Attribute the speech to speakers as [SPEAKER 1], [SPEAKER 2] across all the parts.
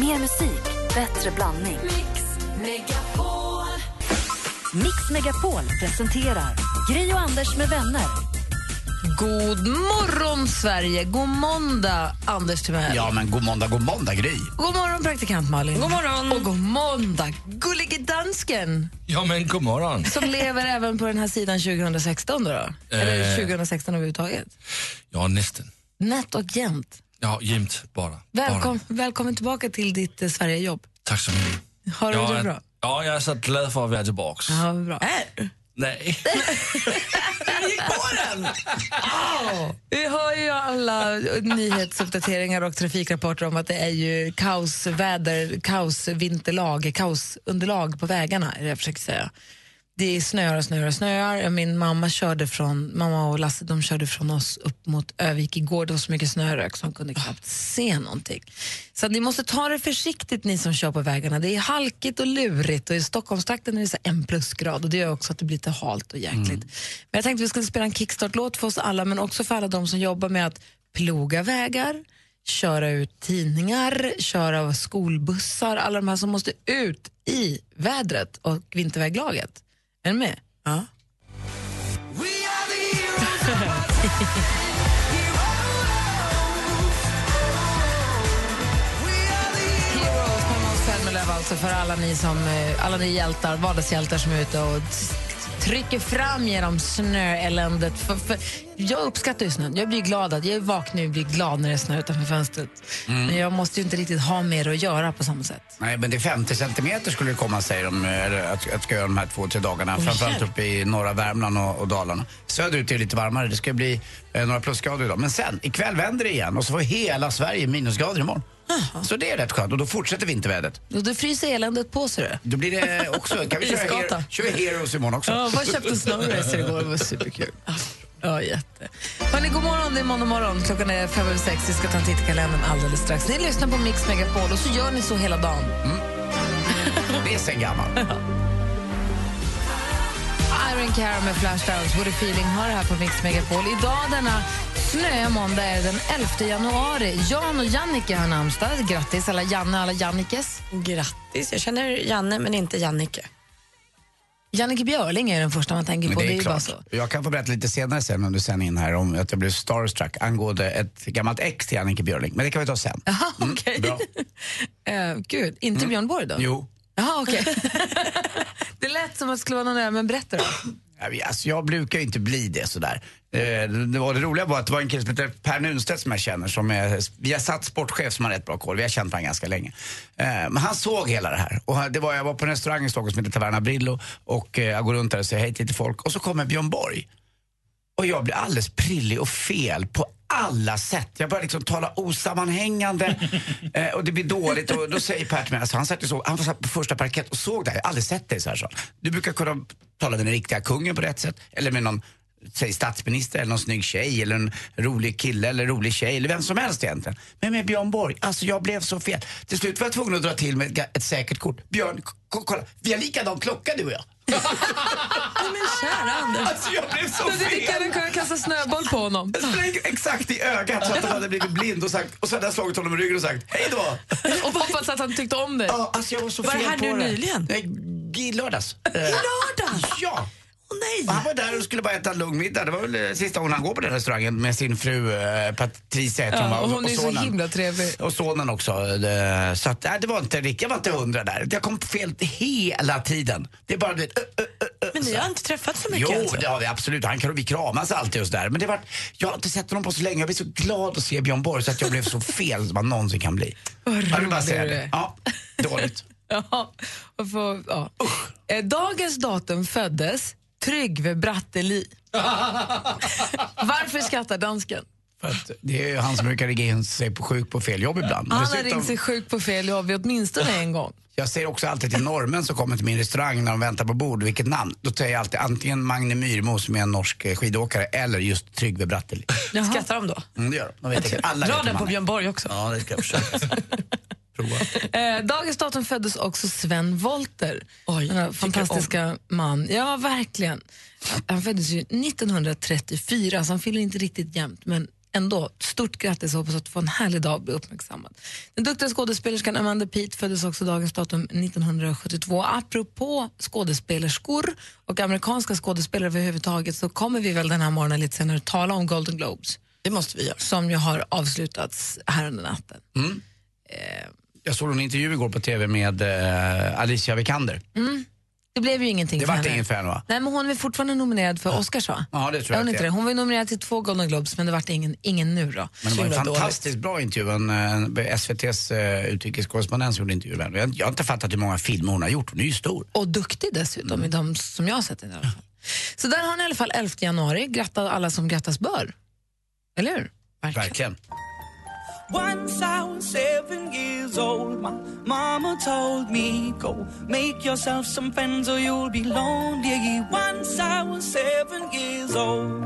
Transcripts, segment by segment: [SPEAKER 1] Mer musik, bättre blandning.
[SPEAKER 2] Mix Megapol.
[SPEAKER 1] Mix Megapol presenterar Gri och Anders med vänner.
[SPEAKER 3] God morgon, Sverige! God måndag, Anders Timell.
[SPEAKER 4] Ja, men god måndag, god måndag Gry.
[SPEAKER 3] God morgon, praktikant Malin.
[SPEAKER 5] God morgon.
[SPEAKER 3] Och god måndag, gullige dansken
[SPEAKER 6] Ja, men god morgon.
[SPEAKER 3] som lever även på den här sidan 2016. Då, då. Eller
[SPEAKER 6] Eh.
[SPEAKER 3] 2016 överhuvudtaget.
[SPEAKER 6] Ja, nästan.
[SPEAKER 3] Nätt och jämnt.
[SPEAKER 6] Ja, jämt bara.
[SPEAKER 3] Välkom,
[SPEAKER 6] Bara.
[SPEAKER 3] välkommen tillbaka till ditt eh, Sverigejobb.
[SPEAKER 6] Tack så mycket.
[SPEAKER 3] Har du
[SPEAKER 6] ja,
[SPEAKER 3] det bra?
[SPEAKER 6] Ja, jag är så glad för att vara tillbaka.
[SPEAKER 3] Ja, vad bra. Är.
[SPEAKER 6] Nej.
[SPEAKER 3] Vi hör ju alla nyhetsuppdateringar och trafikrapporter om att det är ju kaosväder, kaosvinterlag, kaosunderlag på vägarna. Är det jag försöker säga. Det är snöar och snöar och snöar. Min mamma, körde från, mamma och Lasse de körde från oss upp mot Övik igår. Det var så mycket snörök så de kunde knappt se någonting. Så att ni måste ta det försiktigt ni som kör på vägarna. Det är halkigt och lurigt och i Stockholmstrakten är det så här en plusgrad och det gör också att det blir lite halt och jäkligt. Men jag tänkte vi skulle spela en kickstart-låt för oss alla men också för alla de som jobbar med att ploga vägar, köra ut tidningar, köra skolbussar, alla de här som måste ut i vädret och vinterväglaget. Är ni med? Ja. Heroes med Måns Zelmerlöw alltså för alla ni, som, eh, alla ni hjältar, vardagshjältar som är ute och t- trycker fram genom snöeländet. För, för, jag uppskattar ju snön. Jag blir glad att jag är vaken och blir glad när det snöar utanför fönstret. Men jag måste ju inte riktigt ha mer att göra på samma sätt.
[SPEAKER 4] Nej, men det är 50 centimeter skulle det komma, säger de, eh, eller att, att ska göra de här två, tre dagarna.
[SPEAKER 3] Oj,
[SPEAKER 4] framförallt
[SPEAKER 3] jävlar.
[SPEAKER 4] uppe i norra Värmland och, och Dalarna. Söderut är det lite varmare, det ska bli eh, några plusgrader idag. Men sen, ikväll vänder det igen och så får hela Sverige minusgrader imorgon. Så det är rätt skönt och då fortsätter vintervädret.
[SPEAKER 3] Och då fryser eländet på sig. du.
[SPEAKER 4] Då blir det också, kan vi köra,
[SPEAKER 3] Isgata.
[SPEAKER 4] her- köra Heroes imorgon också.
[SPEAKER 3] Ja, vad köpte Snowracer igår? Det var superkul. Ja, jätte. Hörrni, god morgon. Det är måndag morgon. Klockan är fem över sex. Vi ska ta en titt i kalendern alldeles strax. Ni lyssnar på Mix Megapol och så gör ni så hela dagen.
[SPEAKER 4] Det är sen gammalt.
[SPEAKER 3] Iron Cara med Flashdance, What a feeling, har det här på Mix Megapol. Idag denna snöiga måndag är den 11 januari. Jan och Jannike har namnsdag. Grattis alla Janne och alla Jannikes.
[SPEAKER 5] Grattis. Jag känner Janne, men inte Jannike.
[SPEAKER 3] Jannike Björling är den första man tänker
[SPEAKER 4] Men
[SPEAKER 3] på.
[SPEAKER 4] det är
[SPEAKER 3] ju bara
[SPEAKER 4] klart.
[SPEAKER 3] så.
[SPEAKER 4] Jag kan få berätta lite senare sen under sändningen här om att jag blev starstruck angående ett gammalt ex till Annika Björling. Men det kan vi ta sen.
[SPEAKER 3] Jaha, okej.
[SPEAKER 4] Mm, bra. Mm.
[SPEAKER 3] Eh, gud, inte Björn Borg då?
[SPEAKER 4] Jo.
[SPEAKER 3] Jaha, okej. det lät som att det skulle vara någon där, men berätta då.
[SPEAKER 4] Ja, men Alltså, jag brukar ju inte bli det sådär. Eh, Det, det, var det roliga var att det var en kille som heter Per Nunstedt som jag känner som är via satt sportchef som har rätt bra koll. Vi har känt varandra ganska länge. Eh, Men han såg hela det här. Och han- det var, jag var på en restaurang i Stockholm som heter Taverna Brillo och eh, jag går runt där och säger hej till lite folk och så kommer Björn Borg. Och jag blir alldeles prillig och fel på alla sätt. Jag börjar liksom tala osammanhängande eh, och det blir dåligt. Och då säger Per till mig, alltså, han satt ju så, han satt på första parkett och såg det här. Jag har aldrig sett dig så här, så. Du brukar kunna tala med den riktiga kungen på rätt sätt. Eller med någon, säg statsminister eller någon snygg tjej eller en rolig kille eller rolig tjej eller vem som helst egentligen. Men med Björn Borg, alltså jag blev så fel. Till slut var jag tvungen att dra till med ett, ga- ett säkert kort. Björn, k- kolla, vi har likadan klocka du och jag.
[SPEAKER 3] Men kära Anders.
[SPEAKER 4] Alltså jag blev så fel.
[SPEAKER 3] Du kan kunna kasta snöboll på honom.
[SPEAKER 4] Jag sprang exakt i ögat så att han hade blivit blind och, sagt, och så hade jag slagit honom i ryggen och sagt hej då.
[SPEAKER 3] Och hoppas att han tyckte om dig.
[SPEAKER 4] Ja, alltså jag var så
[SPEAKER 5] Var det
[SPEAKER 4] fel
[SPEAKER 5] här
[SPEAKER 4] på
[SPEAKER 5] nu
[SPEAKER 4] det.
[SPEAKER 5] nyligen?
[SPEAKER 4] Nej, I lördags. I
[SPEAKER 5] lördags?
[SPEAKER 4] Ja.
[SPEAKER 5] Åh nej!
[SPEAKER 4] Och Han var där och skulle bara äta en lugn middag. Det var väl eh, sista gången han går på den restaurangen med sin fru eh, Patricia heter
[SPEAKER 3] Ja,
[SPEAKER 4] va?
[SPEAKER 3] och hon är ju så
[SPEAKER 4] sonen.
[SPEAKER 3] himla trevlig.
[SPEAKER 4] Och sonen också. eh, Så att, nej, det var inte riktigt, jag var inte hundra där. Jag kom fel hela tiden. Det är bara du vet, ö, ö, ö, ö,
[SPEAKER 5] Men ni
[SPEAKER 4] så.
[SPEAKER 5] har inte träffats så mycket
[SPEAKER 4] Jo,
[SPEAKER 5] alltså.
[SPEAKER 4] det har vi absolut. Han kan, vi kramas alltid och sådär. Men det var, jag har inte sett honom på så länge. Jag blir så glad att se Björn Borg så att jag blev så fel som man någonsin kan bli.
[SPEAKER 3] Vad
[SPEAKER 4] Jag vill bara
[SPEAKER 3] rolig
[SPEAKER 4] säga
[SPEAKER 3] du
[SPEAKER 4] det.
[SPEAKER 3] är.
[SPEAKER 4] Ja, dåligt.
[SPEAKER 3] Ja, och få- ja. Eh, Dagens datum föddes Tryggve Bratteli. Varför skrattar dansken?
[SPEAKER 4] För att det är ju han som brukar ringa in sig på sjuk på fel jobb ibland.
[SPEAKER 3] Han har
[SPEAKER 4] Dessutom-
[SPEAKER 3] ringt sig sjuk på fel jobb åtminstone en gång.
[SPEAKER 4] Jag säger också alltid till norrmän som kommer till min restaurang när de väntar på bord, vilket namn? Då säger jag alltid antingen Magne Myrmo som är en norsk eh, skidåkare eller just Tryggve Bratteli.
[SPEAKER 5] Skrattar de då?
[SPEAKER 4] Mm, det gör de. de vet exakt. Alla
[SPEAKER 5] Dra
[SPEAKER 4] vet
[SPEAKER 5] den
[SPEAKER 4] vem
[SPEAKER 5] på
[SPEAKER 4] han är.
[SPEAKER 5] Björn Borg också.
[SPEAKER 4] Ja, det ska jag försöka. Prova.
[SPEAKER 3] Eh, dagens datum föddes också Sven Wollter.
[SPEAKER 5] Oj,
[SPEAKER 3] Denna fantastiska man. Ja, verkligen. Han föddes ju 1934, så han fyller inte riktigt jämnt, men ändå, stort grattis och hoppas att du får en härlig dag och blir uppmärksammad. Den duktiga skådespelerskan Amanda Peet föddes också dagens datum 1972. Apropå skådespelerskor och amerikanska skådespelare överhuvudtaget så kommer vi väl den här morgonen lite senare att tala om Golden Globes. Det måste vi göra. Som ju har avslutats här under natten.
[SPEAKER 4] Jag såg en intervju igår på TV med eh, Alicia Vikander.
[SPEAKER 5] Mm.
[SPEAKER 3] Det blev ju ingenting
[SPEAKER 4] Det
[SPEAKER 3] för
[SPEAKER 4] vart
[SPEAKER 3] henne.
[SPEAKER 4] ingen fan va?
[SPEAKER 3] Nej, men hon är fortfarande nominerad för Oscars va?
[SPEAKER 4] Ja, det tror
[SPEAKER 3] Är
[SPEAKER 4] jag
[SPEAKER 3] hon,
[SPEAKER 4] att
[SPEAKER 3] inte
[SPEAKER 4] det
[SPEAKER 3] det.
[SPEAKER 4] är.
[SPEAKER 3] hon var ju nominerad till två Golden Globes men det vart ingen, ingen nu då.
[SPEAKER 4] Men det var en
[SPEAKER 3] Himla dåligt.
[SPEAKER 4] fantastiskt bra intervju. En, eh, SVTs eh, utrikeskorrespondent som gjorde intervjun. med henne. Jag, jag har inte fattat hur många filmer hon har gjort. Hon är ju stor.
[SPEAKER 3] Och duktig dessutom, i de som jag har sett i alla fall. Så där har ni i alla fall 11 januari. Gratta alla som grattas bör. Eller hur?
[SPEAKER 4] Verkligen.
[SPEAKER 7] Once I was seven years old, my mama told me, Go make yourself some friends or you'll be lonely. Once I was seven years old.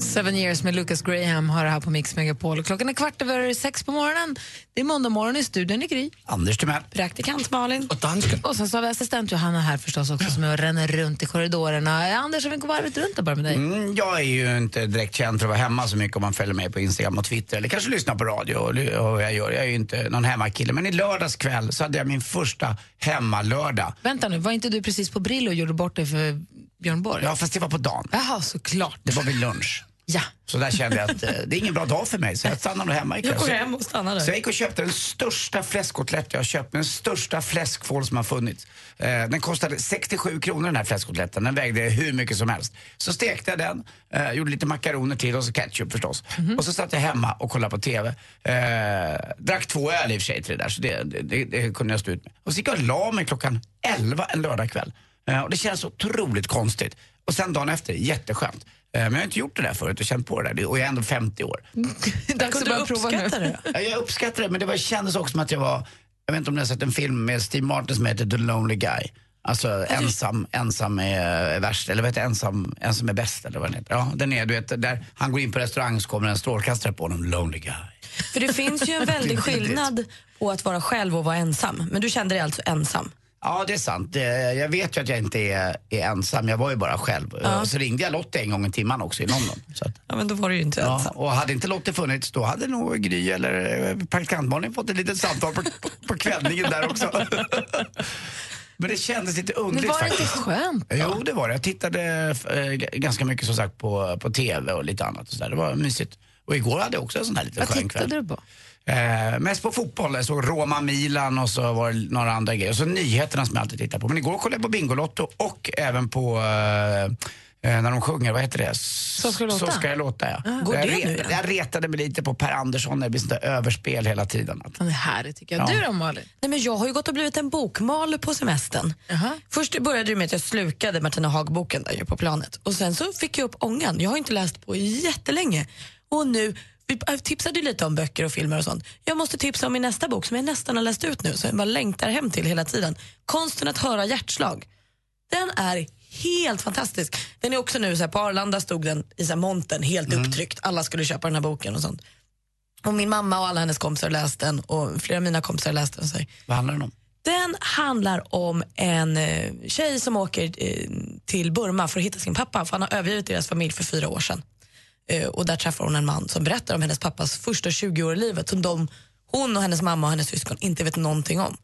[SPEAKER 3] Seven years med Lucas Graham har det här på Mix Megapol. Och Klockan är kvart över sex på morgonen. Det är måndag morgon i studion i Gry.
[SPEAKER 4] Anders Timell.
[SPEAKER 5] Praktikant Malin.
[SPEAKER 6] Och dansken.
[SPEAKER 3] Och sen så har vi assistent Johanna här förstås också som är och ränner runt i korridorerna. Eh, Anders, om vi går varvet runt och börjar med dig.
[SPEAKER 4] Mm, jag är ju inte direkt känd för att vara hemma så mycket om man följer mig på Instagram och Twitter eller kanske lyssnar på radio och ly- och vad jag gör. Jag är ju inte någon hemmakille. Men i lördags kväll så hade jag min första hemmalördag.
[SPEAKER 3] Vänta nu, var inte du precis på Brillo och gjorde bort dig för Björn Borg?
[SPEAKER 4] Ja, fast det var på dagen.
[SPEAKER 3] Jaha, såklart.
[SPEAKER 4] Det var vid lunch.
[SPEAKER 3] Ja.
[SPEAKER 4] Så där kände jag att eh, det är ingen bra dag för mig så jag stannar nog hemma ikväll. Så-
[SPEAKER 5] och stannar
[SPEAKER 4] Så jag gick och köpte den största fläskkotlett jag har köpt, den största fläskfål som har funnits. Eh, den kostade 67 kronor den här fläskkotletten, den vägde hur mycket som helst. Så stekte jag den, eh, gjorde lite makaroner till och så ketchup förstås. Och så satt jag hemma och kollade på TV. Eh, drack två öl i och för sig till det där, så det, det, det, det kunde jag stå ut med. Och så gick jag och la mig klockan 11 en lördagkväll. Eh, och det känns otroligt konstigt. Och sen dagen efter, jätteskönt. Eh, men jag har inte gjort det där förut och känt på det där. Och jag är ändå 50 år.
[SPEAKER 3] Dags att
[SPEAKER 5] Kunde du
[SPEAKER 3] börja prova nu.
[SPEAKER 5] uppskatta det?
[SPEAKER 4] Ja, jag uppskattar det, men det var, kändes också som att jag var... Jag vet inte om ni har sett en film med Steve Martin som heter The Lonely Guy. Alltså ensam, ensam är, är värst, eller vad heter det? ensam, ensam är bäst eller vad den heter. Ja, den är, du vet, där han går in på restaurang så kommer en strålkastare på honom, Lonely Guy.
[SPEAKER 5] För det finns ju en väldig skillnad på att vara själv och vara ensam. Men du kände dig alltså ensam.
[SPEAKER 4] Ja, det är sant. Eh, Jag vet ju att jag inte är, är ensam, jag var ju bara själv. Eh, Så ringde jag Lotte en gång i timmen också i London. Så att,
[SPEAKER 5] Ja, men då var du ju inte
[SPEAKER 4] ja,
[SPEAKER 3] Liksom.
[SPEAKER 4] och hade inte Lotte funnits, då hade nog Gry eller eh, praktikantbarnen fått ett litet samtal på, på kvällningen där också. Men det kändes lite
[SPEAKER 3] Men
[SPEAKER 4] underligt
[SPEAKER 3] var det
[SPEAKER 4] faktiskt.
[SPEAKER 3] inte skönt?
[SPEAKER 4] Jo, det var det. Jag tittade eh, g- ganska mycket som sagt på, på TV och lite annat. Och så där. Det var mysigt. Och igår hade jag också en sån här liten
[SPEAKER 3] Vad
[SPEAKER 4] skön
[SPEAKER 3] tittade
[SPEAKER 4] kväll.
[SPEAKER 3] du på?
[SPEAKER 4] Eh, mest på fotboll. Jag såg Roma-Milan och så var det några andra grejer. Och så nyheterna som jag alltid tittar på. Men igår kollade jag på Bingolotto och även på eh, eh, när de sjunger, vad heter det? S-
[SPEAKER 3] Så ska det låta.
[SPEAKER 4] Så ska jag låta, ja.
[SPEAKER 5] Går
[SPEAKER 4] jag,
[SPEAKER 5] det nu igen?
[SPEAKER 4] jag retade mig lite på Per Andersson när det blir sånt där överspel hela tiden. Att,
[SPEAKER 3] Han är härlig tycker jag.
[SPEAKER 4] Ja.
[SPEAKER 3] Du då Malin?
[SPEAKER 5] Nej, men jag har ju gått och blivit en bokmal på semestern.
[SPEAKER 3] Jaha.
[SPEAKER 5] Först började det med att jag slukade Martina Haag-boken där ju på planet. Och sen så fick jag upp ångan. Jag har inte läst på jättelänge. Och nu, vi jag tipsade ju lite om böcker och filmer och sånt. Jag måste tipsa om min nästa bok som jag nästan har läst ut nu, som jag bara längtar hem till hela tiden. Konsten att höra hjärtslag. Den är helt fantastisk. Den är också nu så här, på Arlanda stod den i så här, montern helt upptryckt. Alla skulle köpa den här boken och sånt. Och min mamma och alla hennes kompisar läste den och flera av mina kompisar läste den. Och så här,
[SPEAKER 4] vad handlar den om?
[SPEAKER 5] den handlar om en eh, tjej som åker eh, till Burma för att hitta sin pappa för han har övergivit deras familj för fyra år sedan. Eh, och där träffar hon en man som berättar om hennes pappas första 20 år i livet som de, hon och hennes mamma och hennes syskon inte vet någonting om.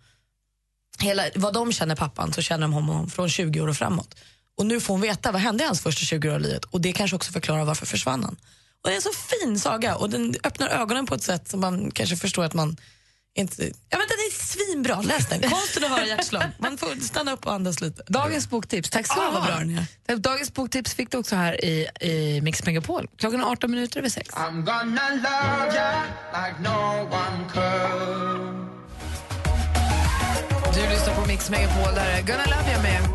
[SPEAKER 5] Hela, vad de känner pappan så känner de honom från 20 år och framåt. Och nu får hon veta vad hände i hans första 20 år i livet och det kanske också förklarar varför försvann han. Och det är en så fin saga och den öppnar ögonen på ett sätt som man kanske förstår att man inte... Ja men den är svinbra, läs den. Konsten att höra hjärtslag. Man får stanna upp och andas lite.
[SPEAKER 3] Dagens boktips, tack ska du
[SPEAKER 5] Ah, vad bra den
[SPEAKER 3] ha. Dagens boktips fick du också här i, i Mix Megapol. Klockan är 18 minuter över sex.
[SPEAKER 8] I'm gonna love ya like no one could.
[SPEAKER 3] Du lyssnar på Mix Megapol, där är Gunnar Lavia med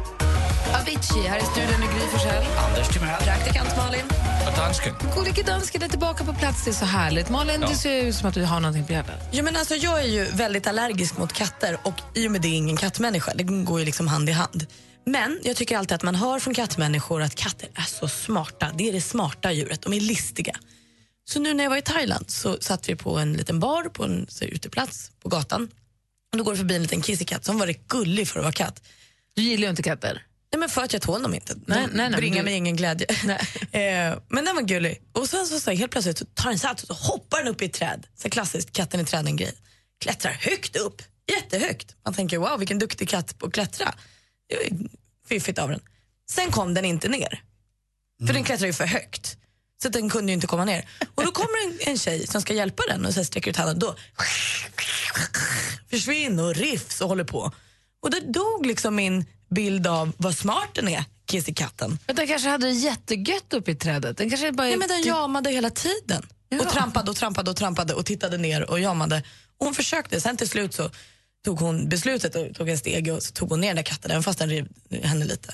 [SPEAKER 3] Avicii. Här i studion är Gry Forssell.
[SPEAKER 4] Anders Timell.
[SPEAKER 5] Praktikant Malin.
[SPEAKER 6] Och dansken.
[SPEAKER 3] Gullige dansken är tillbaka på plats, det är så härligt. Malin, det ser ut som att du har någonting på hjärtat.
[SPEAKER 5] Jo, men alltså, jag är ju väldigt allergisk mot katter och i och med det är ingen kattmänniska. Det går ju liksom hand i hand. Men jag tycker alltid att man hör från kattmänniskor att katter är så smarta. Det är det smarta djuret. De är listiga. Så nu när jag var i Thailand så satt vi på en liten bar på en så här, uteplats på gatan. Och då går det förbi en liten kissekatt som var rätt gullig för att vara katt.
[SPEAKER 3] Du gillar ju inte katter.
[SPEAKER 5] Nej, men för att jag tål dem inte. De
[SPEAKER 3] Nej, nej, nej,
[SPEAKER 5] bringar
[SPEAKER 3] men du-
[SPEAKER 5] mig ingen glädje. eh, men den var gullig. Och sen så, så här, helt plötsligt så tar den sats och så hoppar den upp i ett träd. Så här klassiskt katten i träden-grej. Klättrar högt upp, jättehögt. Man tänker wow vilken duktig katt på att klättra. Det var ju Fiffigt av den. Sen kom den inte ner. För den klättrar ju för högt. Så att den kunde ju inte komma ner. Och då kommer en, en tjej som ska hjälpa den och så här sträcker ut handen. Då försvinner och riffs och håller på. Och där dog liksom min bild av vad smart den är, kissekatten.
[SPEAKER 3] Men den kanske hade det jättegött uppe i trädet. Den kanske bara... typ-
[SPEAKER 5] Nej, men den jamade hela tiden. Och trampade och trampade och trampade och tittade ner och jamade. Och hon försökte. Sen till slut så tog hon beslutet och tog en steg och så tog hon ner den där katten, även fast den rev henne lite.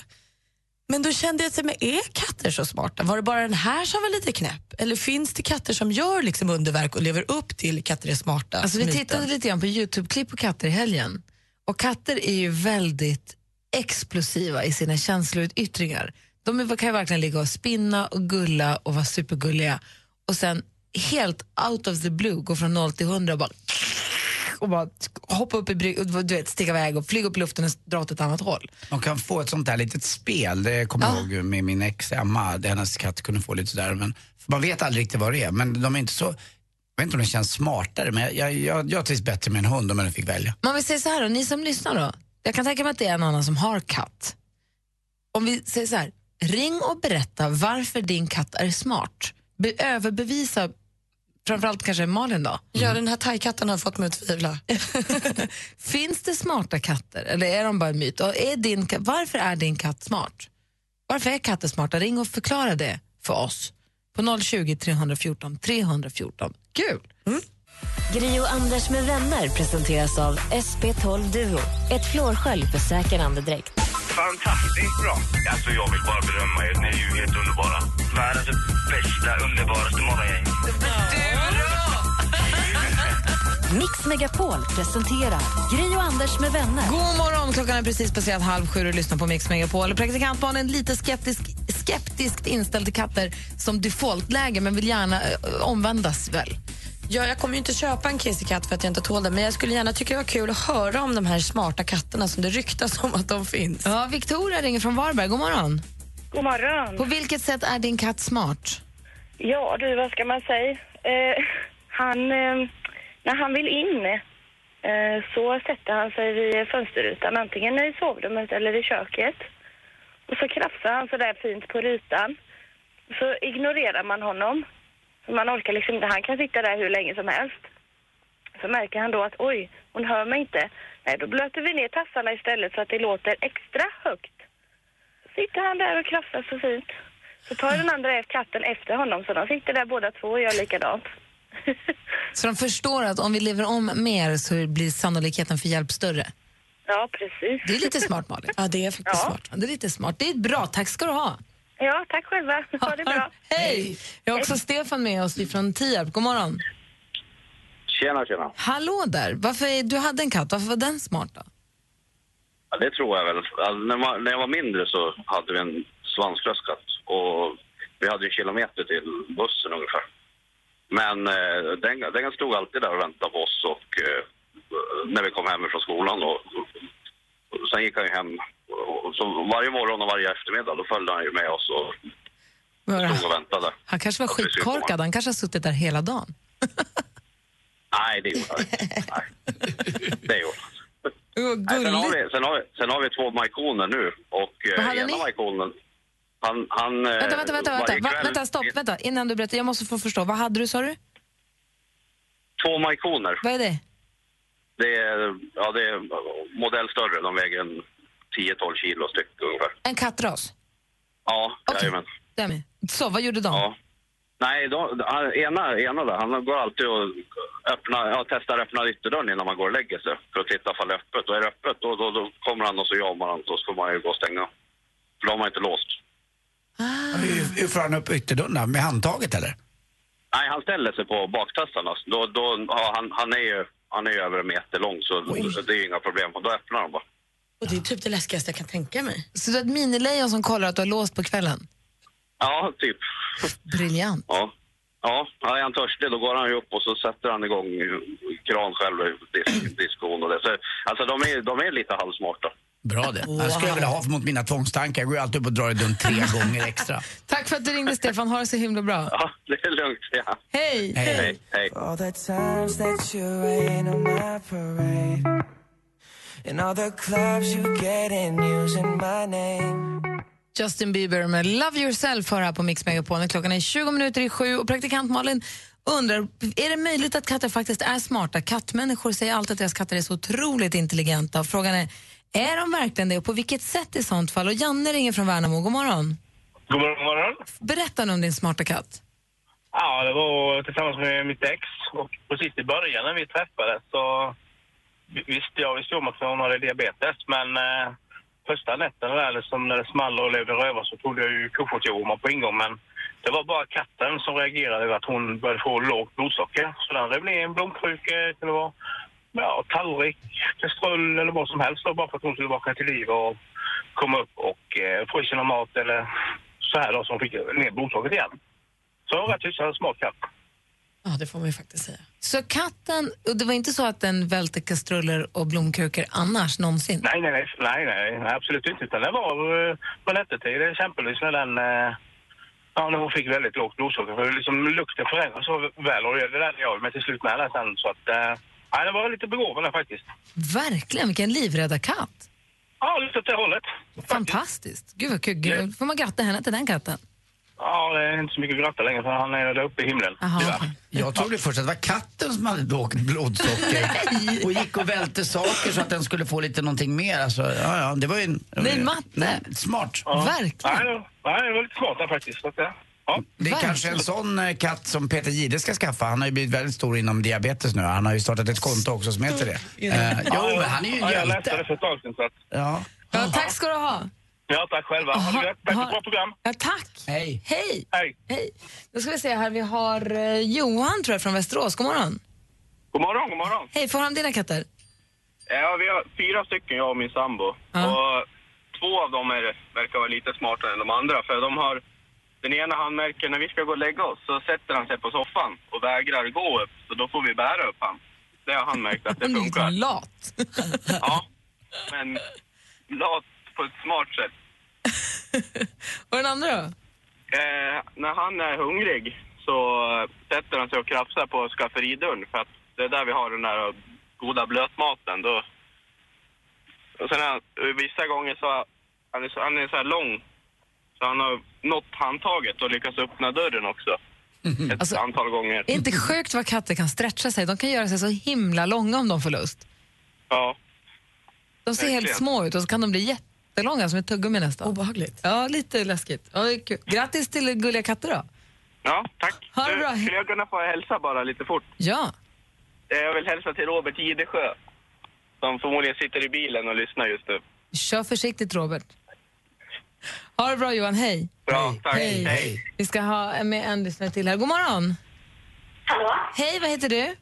[SPEAKER 5] Men då kände jag att men är katter så smarta? Var det bara den här som var lite knäpp? Eller finns det katter som gör liksom underverk och lever upp till katter är smarta?
[SPEAKER 3] Alltså, vi
[SPEAKER 5] myten?
[SPEAKER 3] tittade lite grann på Youtube-klipp på katter i helgen. Och katter är ju väldigt explosiva i sina känsloutyttringar. De är- kan ju verkligen ligga och spinna och gulla och vara supergulliga. Och sen helt out of the blue gå från 0 till 100 och bara, och bara hoppa upp i bry- och du vet, sticka iväg och flyga upp i luften och dra åt ett annat håll.
[SPEAKER 4] Man kan få ett sånt där litet spel. Det kommer jag ihåg med min ex Emma. Det hennes katt kunde få lite sådär. Men, för man vet aldrig riktigt vad det är. Men de är inte så... Jag vet inte om det känns smartare, men jag, jag, jag, jag trivs bättre med en hund om jag nu fick välja.
[SPEAKER 3] Men om vi säger så här då, ni som lyssnar då. Jag kan tänka mig att det är en annan som har katt. Om vi säger så här, ring och berätta varför din katt är smart. Be- överbevisa framförallt kanske Malin då.
[SPEAKER 5] Ja, den här thai-katten har fått mig att tvivla.
[SPEAKER 3] Finns det smarta katter eller är de bara en myt? Och är din, ka- varför är din katt smart? Varför är katter smarta? Ring och förklara det för oss på 020 314 314. Kul!
[SPEAKER 1] Gri och Anders med vänner presenteras av SP12 Duo. Ett flårskölj för säker andedräkt.
[SPEAKER 9] Fantastiskt bra. Alltså jag vill bara berömma er. Ni är ju helt underbara. Världens bästa, underbaraste morgongäng.
[SPEAKER 1] Mix Megapol presenterar Gri och Anders med vänner.
[SPEAKER 3] God morgon! Klockan är precis passerat halv sju och du lyssnar på Mix Megapol. Praktikant Malin är lite skeptisk, skeptiskt inställd till katter som defaultläge men vill gärna eh, omvändas väl.
[SPEAKER 5] Ja, jag kommer ju inte köpa en kissekatt för att jag inte tål det, men jag skulle gärna tycka det var kul att höra om de här smarta katterna som det ryktas om att de finns.
[SPEAKER 3] Ja, Victoria ringer från Varberg. God morgon!
[SPEAKER 10] God
[SPEAKER 3] På
[SPEAKER 10] morgon.
[SPEAKER 3] vilket sätt är din katt smart?
[SPEAKER 10] Ja du, vad ska man säga? Eh, han, eh, när han vill in eh, så sätter han sig vid fönsterrutan, antingen i sovrummet eller i köket. Och så krafsar han sådär fint på rutan. Så ignorerar man honom. Man orkar liksom inte, han kan sitta där hur länge som helst. Så märker han då att oj, hon hör mig inte. Nej, då blöter vi ner tassarna istället så att det låter extra högt. sitter han där och krafsar så fint. Så tar den andra katten efter honom, så de sitter där båda två och gör likadant.
[SPEAKER 3] Så de förstår att om vi lever om mer så blir sannolikheten för hjälp större.
[SPEAKER 10] ja, precis.
[SPEAKER 3] Det är lite smart, Malin.
[SPEAKER 5] Ja, det är faktiskt
[SPEAKER 10] Ja.
[SPEAKER 5] smart.
[SPEAKER 3] Ja, Det är lite smart. Det är bra. Tack ska du ha.
[SPEAKER 10] Ja, tack själva. Ha det bra.
[SPEAKER 3] Hej! Vi har också Stefan med oss från Tierp. God morgon!
[SPEAKER 9] Tjena, tjena.
[SPEAKER 3] Hallå där! Varför är, du hade en katt, varför var den smart då?
[SPEAKER 9] Ja, det tror jag väl. Alltså, när, man, när jag var mindre så hade vi en svanslös katt. Och vi hade ju kilometer till bussen ungefär. Men eh, den, den stod alltid där och väntade på oss och, eh, när vi kom hem från skolan. Och, och sen gick han ju hem. Och, så varje morgon och varje eftermiddag då följde han ju med oss och stod och väntade.
[SPEAKER 3] Han kanske var
[SPEAKER 9] Ja, precis.
[SPEAKER 3] skitkorkad, han kanske har suttit där hela dagen.
[SPEAKER 9] Nej, det gjorde han inte. Nej, det gjorde han inte.
[SPEAKER 3] Vad
[SPEAKER 9] Nej, sen, har
[SPEAKER 3] gulligt!
[SPEAKER 9] vi, sen, har vi, sen har vi två majkoner nu och
[SPEAKER 3] Vad
[SPEAKER 9] eh,
[SPEAKER 3] hade
[SPEAKER 9] ena
[SPEAKER 3] ni?
[SPEAKER 9] majkonen han, han... eh,
[SPEAKER 3] Vänta, vänta, vänta,
[SPEAKER 9] varje
[SPEAKER 3] vänta. Va,
[SPEAKER 9] kväll-
[SPEAKER 3] vänta, stopp, vänta. Innan du berättar, jag måste få förstå. Vad hade du, sa du?
[SPEAKER 9] Två majkoner.
[SPEAKER 3] Vad är det?
[SPEAKER 9] Det är, ja, det är modell större. De väger en 10-12 kilo styck ungefär.
[SPEAKER 3] En kattras?
[SPEAKER 9] Ja,
[SPEAKER 3] Okej.
[SPEAKER 9] jajamän.
[SPEAKER 3] Det är med. Så, vad gjorde de?
[SPEAKER 9] Ja. Nej, då, han, ena, ena där, han går alltid och öppnar, ja, testar öppna ytterdörren innan man går och lägger sig för att titta ifall det är öppet. Och är det öppet då, då, då kommer han och så jamar han så får man ju gå och stänga. För då har man inte låst.
[SPEAKER 4] Hur, hur får han upp ytterdörren? då? Med handtaget eller?
[SPEAKER 9] Nej, han ställer sig på baktassarna. Då, då, ja, han, han, är ju, han är ju över en meter lång, så det är ju inga problem. Och då öppnar han bara.
[SPEAKER 5] Och det är typ det läskigaste jag kan tänka mig.
[SPEAKER 3] Så du har ett minilejon som kollar att du har låst på kvällen?
[SPEAKER 9] Ja, typ.
[SPEAKER 3] Briljant.
[SPEAKER 9] Ja. Ja, ja, är han törstig då går han ju upp och så sätter han igång eh, kran själv i disk, diskon och det. Så, alltså de är, de är lite halvsmarta.
[SPEAKER 4] Bra det. Det skulle jag vilja ha mot mina tvångstankar. Jag går ju alltid upp och drar i dun tre gånger extra.
[SPEAKER 3] Tack för att du ringde Stefan, ha det så himla bra.
[SPEAKER 11] Ja, det är lugnt. Ja.
[SPEAKER 3] Hej!
[SPEAKER 4] Eh,
[SPEAKER 11] Hej. Hej.
[SPEAKER 7] All the times that you rain on my parade. And all the clubs you get in using my name.
[SPEAKER 3] Justin Bieber med Love Yourself hör här på Mix Megapolen. Klockan är 20 minuter i sju och praktikant Malin undrar, är det möjligt att katter faktiskt är smarta? Kattmänniskor säger alltid att deras katter är så otroligt intelligenta. Och Frågan är, är de verkligen det och på vilket sätt i sånt fall? Och Janne ringer från Värnamo, god morgon.
[SPEAKER 9] God morgon, god morgon.
[SPEAKER 3] Berätta nu om din smarta katt.
[SPEAKER 9] Ja, det var tillsammans med mitt ex och precis i början när vi träffades så vi- visste jag visste om att hon hade diabetes men eh, första nätterna där liksom när det small och levde rövar så trodde jag ju kofotjormar på ingång men det var bara katten som reagerade över att hon började få lågt blodsocker. Så den rev ner en blomkruka, det kunde vara ja, tallrik, kastrull eller vad som helst då, bara för att hon skulle vakna till liv och komma upp och eh, få i sig någon mat eller så här då, så hon fick ner blodsockret igen. Så jag var rätt hyfsat smart katt.
[SPEAKER 5] Ja, det får man ju faktiskt säga.
[SPEAKER 3] Så katten, och det var inte så att den välte kastruller och blomkrukor annars någonsin?
[SPEAKER 9] Nej, nej, nej, nej, nej, nej, absolut inte. Utan det var eh, på nättertid exempelvis när den... eh, Ja, när hon fick väldigt lågt blodsocker. För liksom lukten förändras så väl och det gjorde den jag men till slut med den sen. Så att... eh, Nej, den var lite begåvad där faktiskt.
[SPEAKER 3] Verkligen, vilken livrädda katt.
[SPEAKER 9] Ja, lite åt det hållet.
[SPEAKER 3] Fantastiskt. Gud vad kul. Gud, får man gratta henne till den katten?
[SPEAKER 9] Ja, det är inte så mycket att gratta längre för han är där uppe i himlen.
[SPEAKER 3] Aha.
[SPEAKER 9] Tyvärr.
[SPEAKER 4] Jag trodde först att det var katten som hade lågt blodsocker och gick och välte saker så att den skulle få lite någonting mer. Alltså, ja, ja, det var ju en...
[SPEAKER 3] Nej, matte.
[SPEAKER 4] Nej, smart.
[SPEAKER 9] Ja.
[SPEAKER 3] Verkligen.
[SPEAKER 9] Nej, det- Nej, det var lite smart där faktiskt. Så att, eh, ja.
[SPEAKER 4] Det är
[SPEAKER 3] Verkligen.
[SPEAKER 4] kanske en sån eh, katt som Peter Gide ska skaffa. Han har ju blivit väldigt stor inom diabetes nu. Han har ju startat ett konto också som heter det. Eh, jo, men han är ju en
[SPEAKER 9] ja, Jag läste det
[SPEAKER 4] hjälte.
[SPEAKER 9] för ett tag sedan. Så att,
[SPEAKER 4] Ja.
[SPEAKER 3] Ja, tack ska du ha.
[SPEAKER 9] ja, tack själva. Ha det gött. Tack för ett bra program.
[SPEAKER 3] Ja, tack.
[SPEAKER 4] Hej.
[SPEAKER 3] Hej.
[SPEAKER 9] Hej.
[SPEAKER 3] Hej. Då ska vi se här, vi har eh, Johan tror jag från Västerås. God morgon.
[SPEAKER 9] God morgon, god morgon.
[SPEAKER 3] Hej, får han dina katter?
[SPEAKER 9] Ja, vi har fyra stycken, jag och min sambo.
[SPEAKER 3] Ja.
[SPEAKER 9] Och två av dem är, verkar vara lite smartare än de andra. För de har, den ena han märker när vi ska gå och lägga oss så sätter han sig på soffan och vägrar gå upp. Så då får vi bära upp han. Det har han märkt att det
[SPEAKER 3] Han är Mm, lite
[SPEAKER 9] funkar.
[SPEAKER 3] lat.
[SPEAKER 9] Ja, men lat på ett smart sätt.
[SPEAKER 3] Och den andra då?
[SPEAKER 9] Eh, när han är hungrig så sätter han sig och krafsar på skafferidörren för att det är där vi har den där goda blötmaten. Då. Och sen är han, vissa gånger så han är så, han är så här lång så han har nått handtaget och lyckats öppna dörren också ett
[SPEAKER 3] Alltså-
[SPEAKER 9] antal gånger.
[SPEAKER 3] Är inte sjukt vad katter kan stretcha sig? De kan göra sig så himla långa om de får lust.
[SPEAKER 9] Ja.
[SPEAKER 3] De ser helt
[SPEAKER 9] Verkligen.
[SPEAKER 3] små ut och så kan de bli jättelånga som ett tuggummi nästan.
[SPEAKER 5] Obehagligt.
[SPEAKER 3] Ja, lite läskigt. Ja, det är kul. Grattis till gulliga katter då.
[SPEAKER 9] ja, tack.
[SPEAKER 3] Ha det bra.
[SPEAKER 9] Du, Skulle jag kunna få hälsa bara lite fort?
[SPEAKER 3] Ja.
[SPEAKER 9] Eh, Jag vill hälsa till Robert Idesjö som förmodligen sitter i bilen och lyssnar just nu.
[SPEAKER 3] Kör försiktigt, Robert. Ha det bra, Johan. Hej.
[SPEAKER 9] Bra, tack.
[SPEAKER 3] Vi ska ha med en lyssnare till här. God morgon.
[SPEAKER 10] Hallå,
[SPEAKER 3] Hej, vad heter du?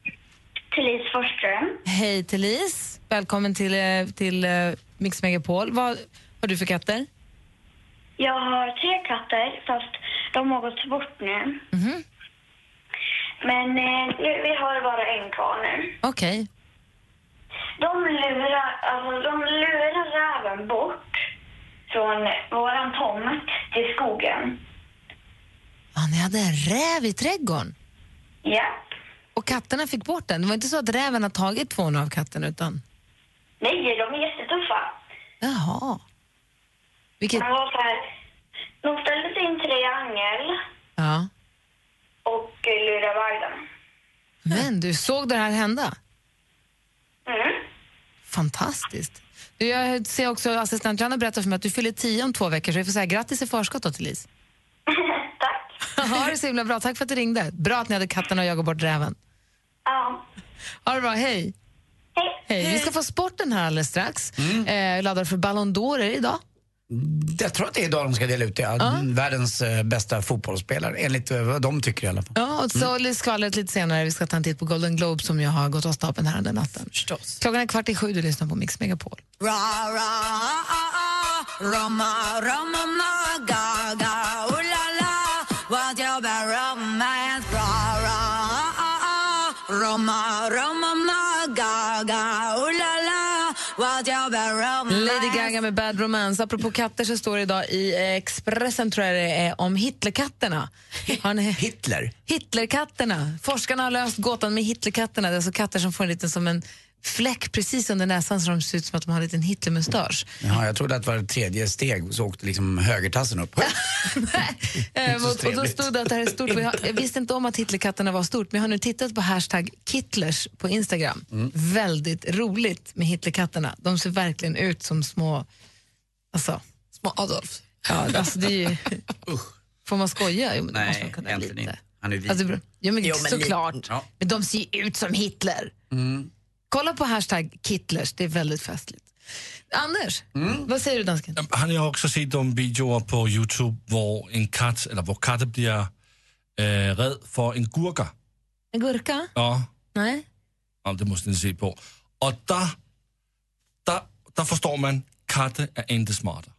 [SPEAKER 10] Therese Forsström.
[SPEAKER 3] Hej, Telis. Välkommen till, eh, till eh, Mix Megapol. Vad har du för katter?
[SPEAKER 10] Jag har tre katter, fast de har gått bort nu. Men eh, vi- vi har bara en kvar nu.
[SPEAKER 3] Okej.
[SPEAKER 10] De lurar, alltså, de lurar räven bort från våran tomt till skogen.
[SPEAKER 3] Ah, ni hade en räv i trädgården
[SPEAKER 10] Ja.
[SPEAKER 3] och katterna fick bort den. Det var inte så att räven har tagit två av katten utan...
[SPEAKER 10] Nej, de är jättetuffa.
[SPEAKER 3] Jaha. Vilket...
[SPEAKER 10] De var så här, de ställde sig i en triangel
[SPEAKER 3] Ja.
[SPEAKER 10] och eh, lurade iväg dem.
[SPEAKER 3] Men du, såg det här hända?
[SPEAKER 10] Mm.
[SPEAKER 3] Fantastiskt. Du, jag ser också assistent Johanna berättar för mig att du fyller tio om två veckor så vi får säga grattis i förskott då till Lis.
[SPEAKER 10] Tack.
[SPEAKER 3] Ha det så himla bra. Tack för att du ringde. Bra att ni hade katterna och jagade bort räven.
[SPEAKER 10] Ja.
[SPEAKER 3] Ha det bra, hej.
[SPEAKER 10] Hej.
[SPEAKER 3] hej. Vi ska få sporten här alldeles strax. Eh, laddar för Ballon d'Or är det idag.
[SPEAKER 4] Jag tror att det är idag de ska dela ut det. Världens eh, bästa fotbollsspelare, enligt eh, vad de tycker i alla fall.
[SPEAKER 3] Ja, och så skvallret lite senare. Vi ska ta en titt på Golden Globe som jag har gått av stapeln här under natten.
[SPEAKER 5] Förstås.
[SPEAKER 3] Klockan är kvart i sju, du lyssnar på Mix Megapol.
[SPEAKER 12] was your bad romance.
[SPEAKER 3] Lady Gaga med Bad Romance. Apropå katter så står det idag i Expressen tror jag det är, om Hitlerkatterna. Har ni...
[SPEAKER 4] Hitler?
[SPEAKER 3] Hitlerkatterna. Forskarna har löst gåtan med Hitlerkatterna. Det är alltså katter som får en liten som en fläck precis under näsan så de ser ut som att de har en liten Hitlermustasch.
[SPEAKER 4] Ja, jag trodde att det var tredje steg så åkte liksom högertassen upp.
[SPEAKER 3] Eh,
[SPEAKER 4] så
[SPEAKER 3] och, och då
[SPEAKER 4] trevligt.
[SPEAKER 3] stod det att det här är stort. Och Jag, jag visste inte om att Hitlerkatterna var stort, men jag har nu tittat på hashtag Kittlers på Instagram.
[SPEAKER 4] Mm.
[SPEAKER 3] Väldigt roligt med Hitlerkatterna. De ser verkligen ut som små... Alltså,
[SPEAKER 5] små Adolf.
[SPEAKER 3] Ja, alltså det är ju... Får man skoja? Jo, men det måste man
[SPEAKER 4] Nej,
[SPEAKER 3] kunna.
[SPEAKER 4] egentligen inte. Han är vit.
[SPEAKER 3] Alltså, jo, men,
[SPEAKER 4] Jo, men lite.
[SPEAKER 3] såklart.
[SPEAKER 4] Ja.
[SPEAKER 3] Men de ser ju ut som Hitler.
[SPEAKER 4] Mm.
[SPEAKER 3] Kolla på hashtag Kittlers, det är väldigt festligt. Anders,
[SPEAKER 4] Mm.
[SPEAKER 3] vad säger du dansken?
[SPEAKER 6] Han har också sett de videoer på Youtube hvor en katt, eller hvor katter blir eh, rädd för en gurka.
[SPEAKER 3] En gurka?
[SPEAKER 6] Ja,
[SPEAKER 3] Nej?
[SPEAKER 6] ja, det måste ni se på. Och där, där, där förstår man, katter är inte smarta.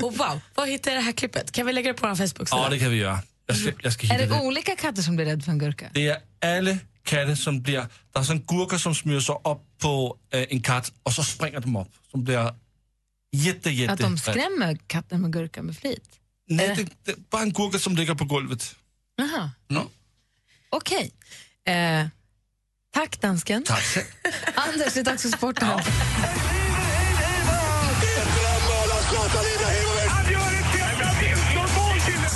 [SPEAKER 5] Och wow, var hittar jag det här klippet? Kan vi lägga det på vår Facebook-sida?
[SPEAKER 6] Ja, det kan vi göra. Jag ska, jag ska hitta
[SPEAKER 3] Är det olika katter som blir rädda för en gurka?
[SPEAKER 6] Det är alla katter som blir... Det är en gurka som smyger sig upp på eh, en katt och så springer de upp. De blir jätte, jätte...
[SPEAKER 3] Att de skrämmer katten med gurka med flit?
[SPEAKER 6] Nej, det, det är bara en gurka som ligger på golvet.
[SPEAKER 3] Jaha,
[SPEAKER 6] Ja.
[SPEAKER 3] okej. Eh, tack dansken.
[SPEAKER 6] Tack.
[SPEAKER 3] Anders, det är dags för sporten.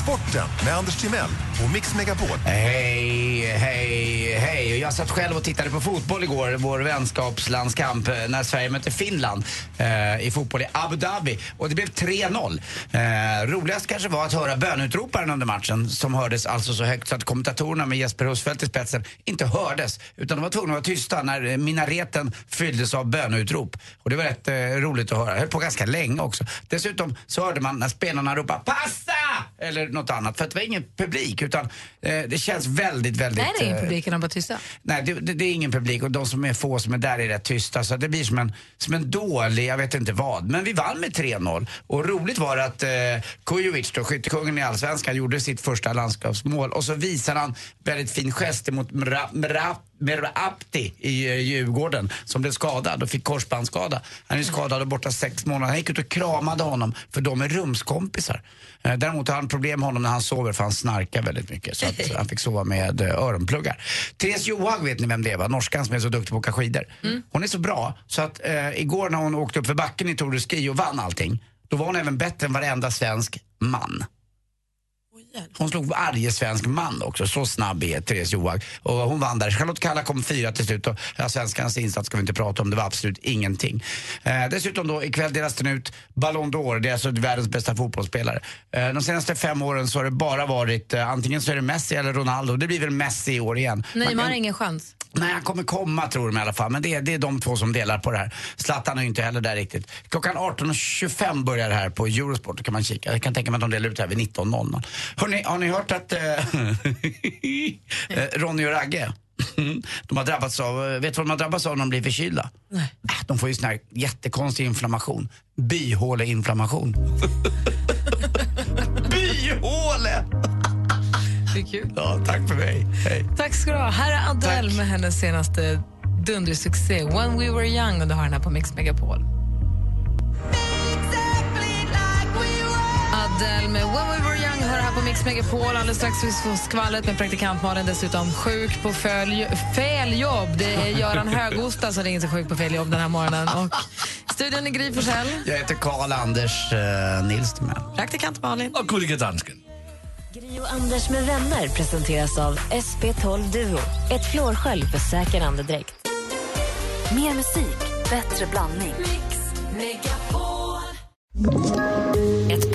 [SPEAKER 13] Sporten med Anders Timell och Mix Megapol.
[SPEAKER 4] Hej, hej, hej. Och Jag satt själv och tittade på fotboll igår, vår vänskapslandskamp, eh, när Sverige mötte Finland eh, i fotboll i Abu Dhabi. Och det blev 3-0. Eh, roligast kanske var att höra bönutroparen under matchen som hördes alltså så högt så att kommentatorerna med Jesper Husfeldt i spetsen inte hördes. Utan de var tvungna att vara tysta när eh, minareten fylldes av bönutrop. Och det var rätt eh, roligt att höra. Det höll på ganska länge också. Dessutom så hörde man när spelarna ropade “Passa!” eller något annat. För att det var ingen publik utan eh, det känns väldigt, väldigt...
[SPEAKER 3] Nej, det är ingen
[SPEAKER 4] eh,
[SPEAKER 3] publiken, de bara tysta.
[SPEAKER 4] Nej, det, det, det är ingen publik och de som är få som är där är rätt tysta. Så det blir som en, som en dålig, jag vet inte vad. Men vi vann med 3-0. Och roligt var att eh, Kujovic, då, skyttekungen i Allsvenskan, gjorde sitt första landskapsmål. Och så visar han väldigt fin gest emot Mra, Mra, Merabti i eh, Djurgården som blev skadad och fick korsbandsskada. Han är skadad och borta sex månader. Han gick ut och kramade honom för de är rumskompisar. Eh, Däremot har han problem med honom när han sover för han snarkar väldigt mycket. Så att han fick sova med eh, öronpluggar. Therese Johaug vet ni vem det var? Norskan som är så duktig på att åka skidor. Hon är så bra så att eh, igår när hon åkte upp för backen i Tour de Ski och vann allting. Då var hon även bättre än varenda svensk man. Hon slog varje svensk man också, så snabb är Therese Johaug. Och hon vann där. Charlotte Kalla kom fyra till slut och ja, svenskarnas insats ska vi inte prata om, det var absolut ingenting. Eh, dessutom då, ikväll delas den ut Ballon d'Or, det är alltså världens bästa fotbollsspelare. Eh, de senaste fem åren så har det bara varit, eh, antingen så är det Messi eller Ronaldo, det blir väl Messi i år igen. Man
[SPEAKER 3] Neymar
[SPEAKER 4] kan-
[SPEAKER 3] har ingen chans.
[SPEAKER 4] Nej, han kommer komma tror de i alla fall. Men det är, det är de två som delar på det här. Zlatan är ju inte heller där riktigt. Klockan 18.25 börjar det här på Eurosport. Då kan man kika. Jag kan tänka mig att de delar ut det här vid 19.00. Hörrni, har ni hört att eh, eh, Ronny och Ragge, de har drabbats av, eh, vet du vad de har drabbats av när de blir förkylda? Nej. De får ju sån här jättekonstig inflammation. Bihåleinflammation. Byhåle!
[SPEAKER 3] Hur kul.
[SPEAKER 4] Ja, tack för mig. Hej.
[SPEAKER 3] Tack ska du ha. Här är Adele med hennes senaste dundersuccé When We Were Young och du har den här på Mix Megapol. Adele med When We Were Young hör här på Mix Megapol. Alldeles strax vi får skvallret med praktikant Malin. Dessutom sjuk på följ, fel jobb. Det är Göran Högosta som ringer sig sjuk på fel jobb den här morgonen. Och studion är Gry Forssell.
[SPEAKER 4] Jag heter Karl-Anders eh, Nils Timell.
[SPEAKER 5] Praktikant Malin.
[SPEAKER 6] Och gulliga dansken.
[SPEAKER 1] Gri och Anders med vänner presenteras av SP12 Duo. Ett flårskölj för säker andedräkt.
[SPEAKER 2] Mer musik, bättre blandning. Mix Megapol.
[SPEAKER 14] Ett